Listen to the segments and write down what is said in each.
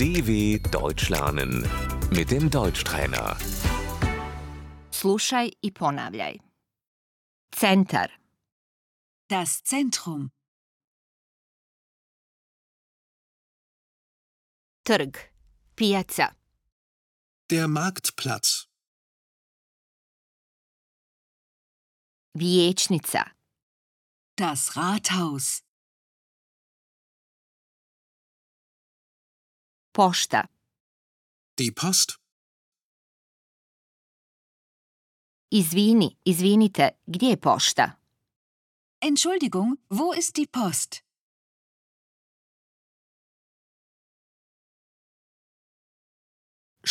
DW Deutsch lernen mit dem Deutschtrainer. Slušaj i ponavljaj. Centar, Das Zentrum, trg, pijaca, Der Marktplatz, vijećnica, das Rathaus, pošta, die Post, izvini, izvinite, gdje je pošta? Entschuldigung, wo ist die Post?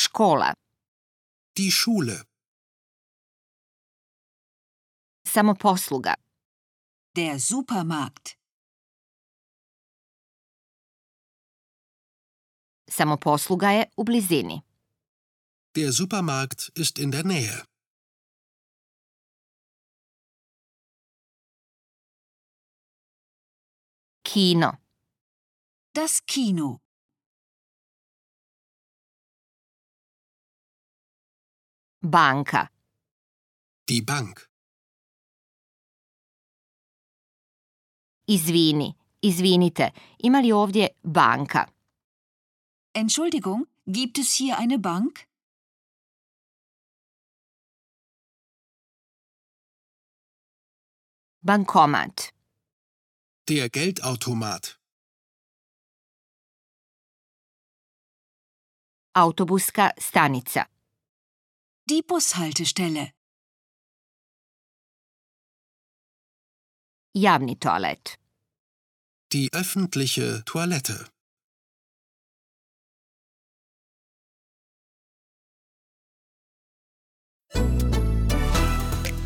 Škola, die Schule, samoposluga, Der Supermarkt, samoposluga je u blizini. der Supermarkt ist in der Nähe. Kino, das Kino, banka, Die Bank, izvini, izvinite, ima li ovdje banka? Entschuldigung, gibt es hier eine Bank? Bankomat, der Geldautomat, autobuska stanica, Die Bushaltestelle, javni toalet, die öffentliche Toilette,